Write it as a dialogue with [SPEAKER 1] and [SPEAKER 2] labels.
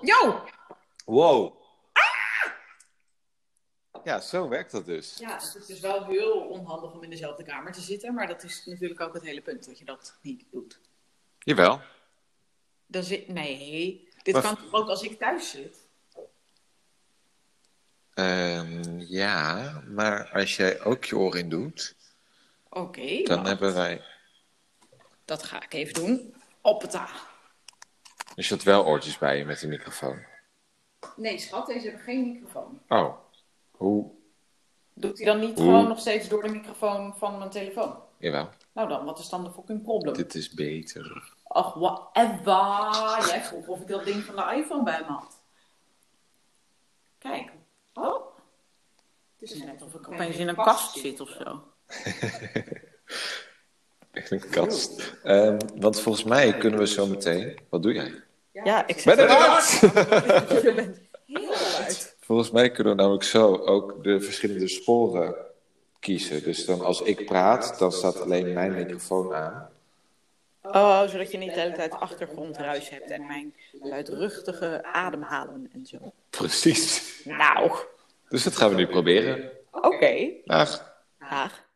[SPEAKER 1] Yo!
[SPEAKER 2] Wow. Ah! Ja, zo werkt dat dus.
[SPEAKER 1] Ja, het is dus wel heel onhandig om in dezelfde kamer te zitten. Maar dat is natuurlijk ook het hele punt, dat je dat niet doet.
[SPEAKER 2] Jawel.
[SPEAKER 1] Dan zit... Nee, dit
[SPEAKER 2] Maar-
[SPEAKER 1] kan toch ook als ik thuis zit?
[SPEAKER 2] Ehm, ja, maar als jij ook je oor in doet,
[SPEAKER 1] Oké,
[SPEAKER 2] dan
[SPEAKER 1] nou,
[SPEAKER 2] hebben wij...
[SPEAKER 1] dat ga ik even doen. Oppeta.
[SPEAKER 2] Er zit wel oortjes bij je met een microfoon.
[SPEAKER 1] Nee, schat, deze hebben geen microfoon.
[SPEAKER 2] Oh, hoe?
[SPEAKER 1] Doet hij dan niet
[SPEAKER 2] Oeh.
[SPEAKER 1] gewoon nog steeds door de microfoon van mijn telefoon?
[SPEAKER 2] Jawel,
[SPEAKER 1] Nou dan, wat is dan de fucking probleem?
[SPEAKER 2] dit is beter.
[SPEAKER 1] Ach, whatever. Jij vroeg of ik dat ding van de iPhone bij me had. Kijk. Oh. Het is net of ik opeens in een kast zit of zo.
[SPEAKER 2] Echt een kast. Ehm, want volgens mij kunnen we zo meteen... Wat doe jij?
[SPEAKER 1] Ja, ik
[SPEAKER 2] Ben er uit!
[SPEAKER 1] Je bent heel luid.
[SPEAKER 2] Volgens mij kunnen we namelijk zo ook de verschillende sporen kiezen. Dus dan als ik praat, dan staat alleen mijn microfoon aan.
[SPEAKER 3] Oh, zodat je niet de hele tijd achtergrondruis hebt en mijn luidruchtige ademhalen en zo.
[SPEAKER 2] Precies.
[SPEAKER 3] Nou,
[SPEAKER 2] Dus dat gaan we nu proberen.
[SPEAKER 3] oké.
[SPEAKER 2] Dag.
[SPEAKER 3] Graag.